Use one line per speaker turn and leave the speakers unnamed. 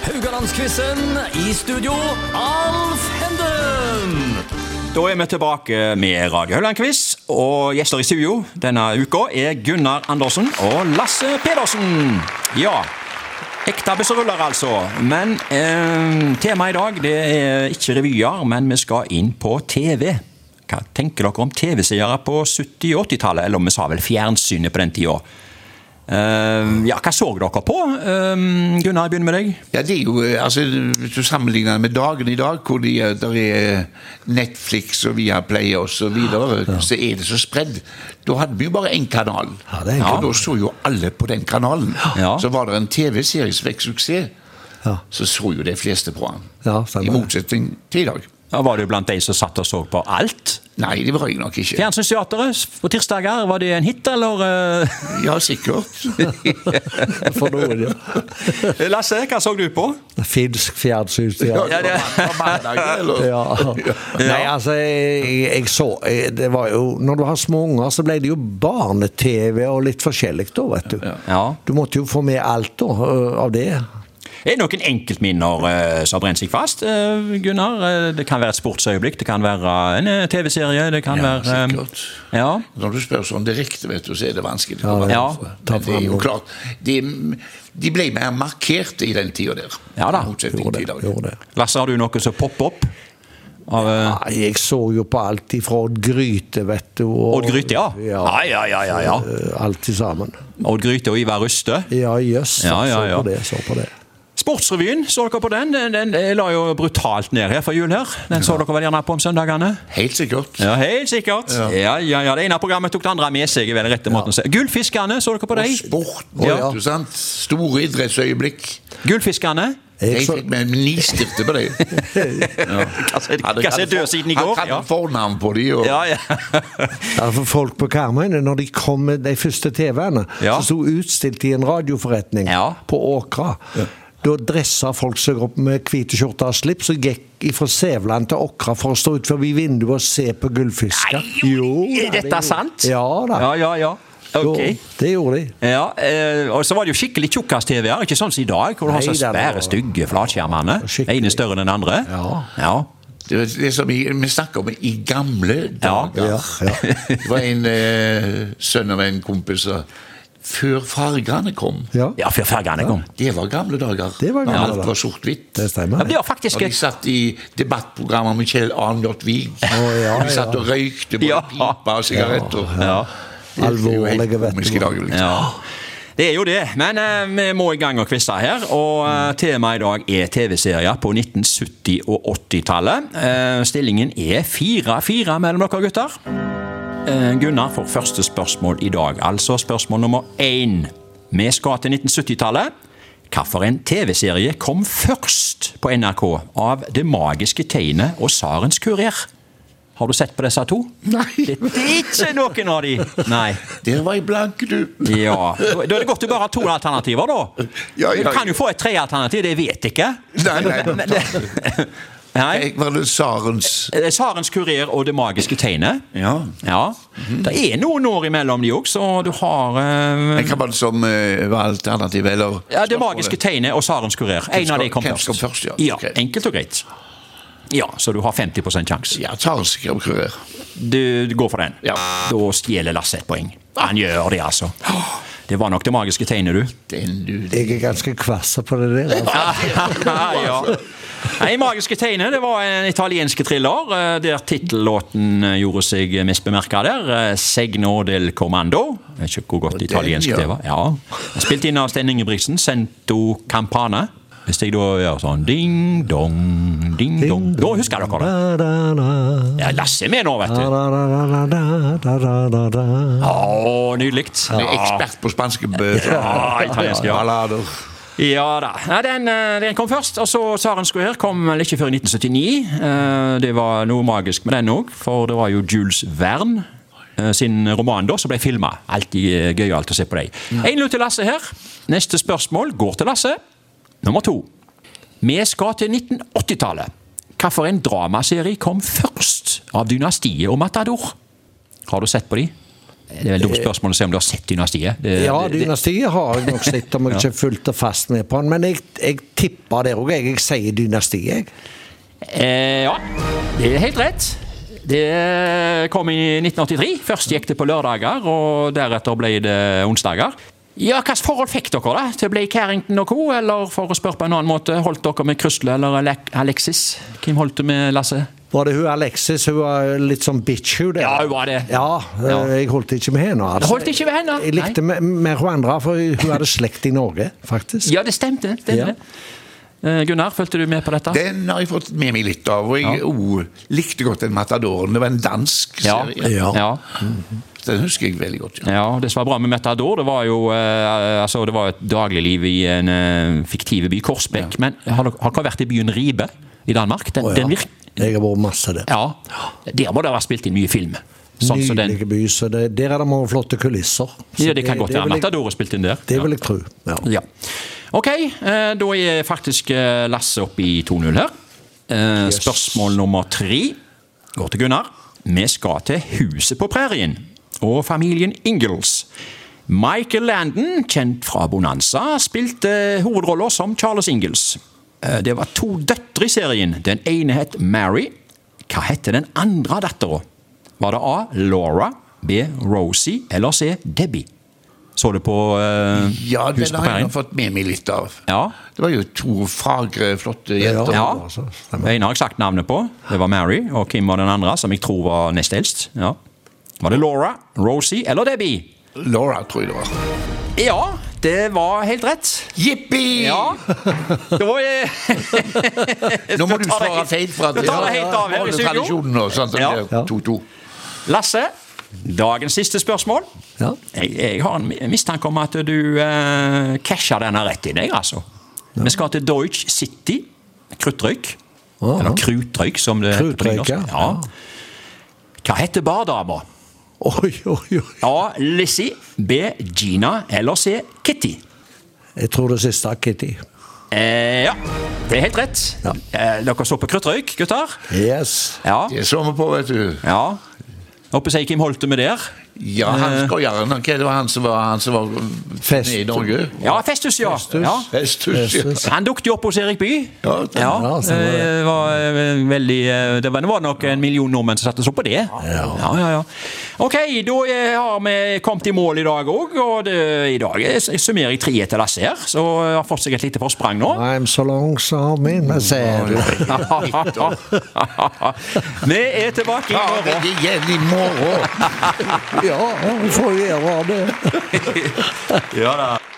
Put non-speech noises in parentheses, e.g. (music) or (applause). Rogalandsquizen. I studio, Alf Henden.
Da er vi tilbake med Radio Høyland-quiz, og gjester i studio denne uka er Gunnar Andersen og Lasse Pedersen. Ja, ekte busseruller altså. Men eh, temaet i dag det er ikke revyer, men vi skal inn på TV. Hva tenker dere om TV-seere på 70- og 80-tallet, eller vi sa vel fjernsynet på den tida? Eh, ja, hva så dere på? Eh, Gunnar, jeg begynner med deg.
Ja, det er jo, eh, altså, Hvis du sammenligner det med dagen i dag, hvor det er, der er eh, Netflix og Viaplay osv., så,
Ah,
videre, så er det så spredd. Da hadde vi jo bare én kanal.
Ja, det er en
Og da så jo alle på den kanalen.
Ja.
Så var det en TV-serie som fikk suksess,
Ja.
så så jo de fleste på den.
Ja, stemmer.
I motsetning til i dag.
Ja, Var du blant de som satt og så på alt?
Nei, det var jeg nok ikke.
Fjernsynsteateret på tirsdager, var det en hit, eller? eh?
Ja,
(laughs)
sikkert.
For noen, ja.
(laughs) Lasse, hva så du på?
Finsk fjernsynsteater.
Ja, det-
På mandag, eller?
Ja. Nei, altså, jeg, jeg så jeg, Det var jo Når du har små unger, så ble det jo barne-TV og litt forskjellig da, vet du.
Ja.
Du måtte jo få med alt da, ø, av det.
Er det noen enkeltminner eh, som brenner seg fast, eh, Gunnar? Eh, Det kan være et sportsøyeblikk, det kan være en eh, TV-serie, det kan
Ja,
være eh,
sikkert.
Ja,
Når du spør sånn direkte, vet du, så er det vanskelig.
Ja,
å
ja.
være-
Ta
Men det er jo
frem-
klart, de, de ble mer markerte i den tida der.
Ja da.
I motsetning
Gjorde
til i
det.
dag.
Gjorde det.
Lasse, har du noe som popper opp? Av, eh,
Nei, jeg så jo på alt ifra Odd Gryte, vet du. og-
Odd Gryte, ja.
ja.
Ja, ja, ja, ja, ja.
ø, Alt til sammen.
Odd Gryte og Ivar Ruste.
Ja, jøss.
Ja, ja, ja.
Så på det, så på det.
Sportsrevyen, så dere på den? Den, den eh, la jo brutalt ned her for jul her. Den så dere vel gjerne på om søndagene?
Helt sikkert.
Ja, helt sikkert. Ja. Ja, ja, Det ene programmet tok det andre med seg. er vel den rette måten å si. Gullfiskene, så dere på dem?
Sport,
Ja.
vet du, sant? Store idrettsøyeblikk.
Gullfiskene.
Jeg
Jeg
så,
fikk meg nistirte
(laughs)
på dem.
Kanskje død siden i går.
Han hadde
Ja.
fornavn på dem. Og...
Ja, ja.
Ja, for folk på Karmøyene, når de kom med de første TV-ene,
Ja.
som sto utstilt i en radioforretning
Ja.
på Åkra Da dressa folk seg opp med hvite skjorter og slips og gikk fra Sævland til Åkra for å stå ut forbi vinduet og se på gullfisker. Jo, da,
Er
det
dette
gjorde-
sant?
Oh, Ja da.
Ja, ja, ja. Ok.
Jo, det gjorde de.
Ja, eh, og så var det jo skikkelig tjukkas-TV-er, ikke sånn som i dag, hvor du har så
Nei, det var-
svære, stygge flatskjermene.
Skikkelig.
Ene større enn den andre.
Ja.
ja.
Det, var det som vi, vi snakker om i gamle dager.
Ja, ja.
Det var en eh, sønn av en kompis som Før fargene kom.
Ja,
Ja, før fergene kom.
Det var gamle dager.
Det var gamle
når alt
dager.
var sort-hvitt.
det
Ja,
stemmer.
det var faktisk
Når de
et
satt i debattprogrammer med Kjell Arnbjørn Wiig.
ja,
de satt og røykte både
Ja.
pipa og sigaretter.
ja.
Det er jo helt
Alvorlige, vet
komisk
du.
i dag. Liksom.
ja. Det er jo det, men eh, vi må i gang og quize her. Og eh, temaet i dag er TV-serier på 1970- og 80-tallet. Eh, stillingen er 4-4 mellom dere gutter. Eh, Gunnar får første spørsmål i dag, altså spørsmål nummer én. Vi skal til 1970-tallet. Hvilken TV-serie kom først på NRK av Det magiske tegnet og Sarens kurer? Har du sett på disse to?
Nei,
Det er ikke noen av de! Nei.
der var jeg blank, du.
Ja, Da da er det godt du bare har to alternativer, da.
Ja, ja.
Du kan jo få et tredje alternativ, det vet jeg ikke.
Nei, nei.
Men det- Nei.
Jeg var det Sarens
Eh, Sarens kurer og Det magiske tegnet.
Ja.
Ja. Det er noen år imellom de òg, så du har eh,
Jeg kan bare som eh, var alternativ, eller
ja, Det
spørsmålet.
magiske tegnet og Sarens kurer. En av
skal-
de kom
hvem
først.
skal først, ja.
ja.
Ok.
Enkelt og greit. Ja, Så du har 50 sjanse.
Ja, Sarens kremkurer.
Du, du går for den.
Ja.
Da stjeler Lasse et poeng. Han gjør det, altså. Det var nok Det magiske tegnet, du.
Den du
Jeg er ganske kvass på det der. Altså.
(laughs) ja. Nei, Magiske tegnet det var en italiensk thriller eh, der tittellåten eh, gjorde seg mest bemerka der. eh, 'Segno del Commando'. Jeg vet ikke hvor godt italiensk
ja.
det var. Ja. Spilt inn av Stein Ingebrigtsen. 'Sento Campane'. Hvis jeg da gjør sånn ding dong, ding dong Da husker dere det.
Da, da, da.
Ja, Lasse er med nå, vet
Da,
du.
da, da, da, da, da, da, da, da.
Å, nydelig.
er ekspert på spanske bøker.
Ja, italiensk, ja.
Ballader.
Ja da. Nei, den, eh, den kom først, og så Saren Square kom vel ikke før i 1979. Eh, Det var noe magisk med den òg, for det var jo Jules Verne eh, sin roman da som ble filma. Alltid eh, gøyalt å se på deg. Én lutt til Lasse her. Neste spørsmål går til Lasse. Nummer to. Vi skal til 1980-tallet. Hvilken dramaserie kom først av Dynastiet og Matador? Har du sett på de? Det er vel dumt spørsmål å se om du har sett Dynastiet. Det-
Ja,
det-
Dynastiet har jeg nok sett,
(laughs)
om jeg ikke fulgte fast med på den. Men jeg, jeg tipper der òg, jeg. Jeg sier Dynastiet, jeg.
Eh, ja, det er helt rett. Det kom i 1983. Først gikk det på lørdager, og deretter ble det onsdager. Ja, Hvilket forhold fikk dere da til Blake Harrington og co.? Eller for å spørre på en annen måte, holdt dere med Krysle eller Alek- Alexis? Hvem holdt du med, Lasse?
Var det hun Alexis? Hun var litt sånn bitch, hun der.
Ja, hun var det.
Ja, eh,
Ja.
Jeg holdt ikke med henne. altså.
Holdt ikke ved henne?
Jeg likte me- mer hun andre, for hun hadde slekt i Norge, faktisk.
Ja, det stemte. det stemte. Eh, Gunnar, fulgte du med på dette?
Den har jeg fått med meg litt av, og jeg oh, likte godt den Matadoren. Det var en dansk
Ja.
serie.
Ja.
ja.
Den husker jeg veldig godt. Ja.
Ja, det som var bra med Metador, det var jo eh, altså, det var et dagligliv i en eh, fiktiv by, Korsbekk. Men har dere, har dere vært i byen Ribe i Danmark? Den,
Å, ja.
den virk,
Jeg har vært masse der.
ja. Der må det ha vært spilt inn mye film. Sånn som den.
Nydelige by, så det, der er det mange flotte kulisser. Så
Ja, det kan godt være
vil jeg-
Metador er spilt inn der.
Det vil jeg tro. Ja.
Ja. Ok, eh, da er faktisk eh, Lasse oppe i 2-0 her. Eh, Spørsmål nummer tre går til Gunnar. Vi skal til Huset på prærien og familien Ingles. Michael Landon, kjent fra Bonanza, spilte eh, hovedroller som Charles Ingles. Eh, Det var to døtre i serien. Den ene het Mary. Hva hette den andre dattera? Var det A. Laura, B. Rosie eller C. Debbie? Så du på eh,
Ja,
Huset
den
på
har jeg
prærien?
nå fått med meg litt av.
Ja.
Det var jo to fagre, flotte jenter.
Ja.
altså, stemmer.
Den har jeg sagt navnet på. Det var Mary, og Kim var den andre, som jeg tror var nest eldst. Ja. Var det Laura, Rosie eller Debbie?
Laura, tror jeg det var.
Ja, det var helt rett.
Jippi!
Ja. Da er
Nå må
Da tar
du
det
svare
helt-
feil. for at
Da tar det helt av her i
Holde
studio.
tradisjonen nå, sånn at det
Ja.
Ja.
blir 2-2.
Lasse, dagens siste spørsmål.
Ja.
Jeg, jeg har en mi- mistanke om at du eh, casher denne rett i deg, altså. Vi skal til Deutsch City. Kruttrøyk.
Ja.
Eller Krutrøyk, som det heter på
Krutrøyk,
nynorsk.
ja.
ja. Hva heter bardama?
Oi, oi, oi.
A. Lizzie. B. Gina. Eller C. Kitty.
Jeg tror det siste er Kitty.
Eh, ja, det er helt rett.
Ja.
Eh, dere står på kruttrøyk, gutter.
Yes.
Ja.
Det så vi på, vet du.
ja. Håper jeg Kim Holte med der.
Ja, han skojeren. han- Hva det var han som var, han som var
Fest.
nede i Norge?
Ja, Festus, ja. ja.
Festus. ja.
Festus.
Han dukket jo opp hos Erik By.
Ja, det-
ja,
det.
stemmer det.
Var, eh, veldig, eh, det var- det var nok en million nordmenn som satte seg opp på det. Ja, ja, ja. Ok, da eh, har vi kommet i mål i dag òg. Og det, i dag eh, summerer jeg tre etter Lasse her, så jeg har fått seg et lite forsprang nå.
I'm so long, so mean, men ser du.
(laughs) Vi er tilbake i
Ja, det
morgen.
er igjen i morgen.
Ja, vi får gjøre det.
Ja da.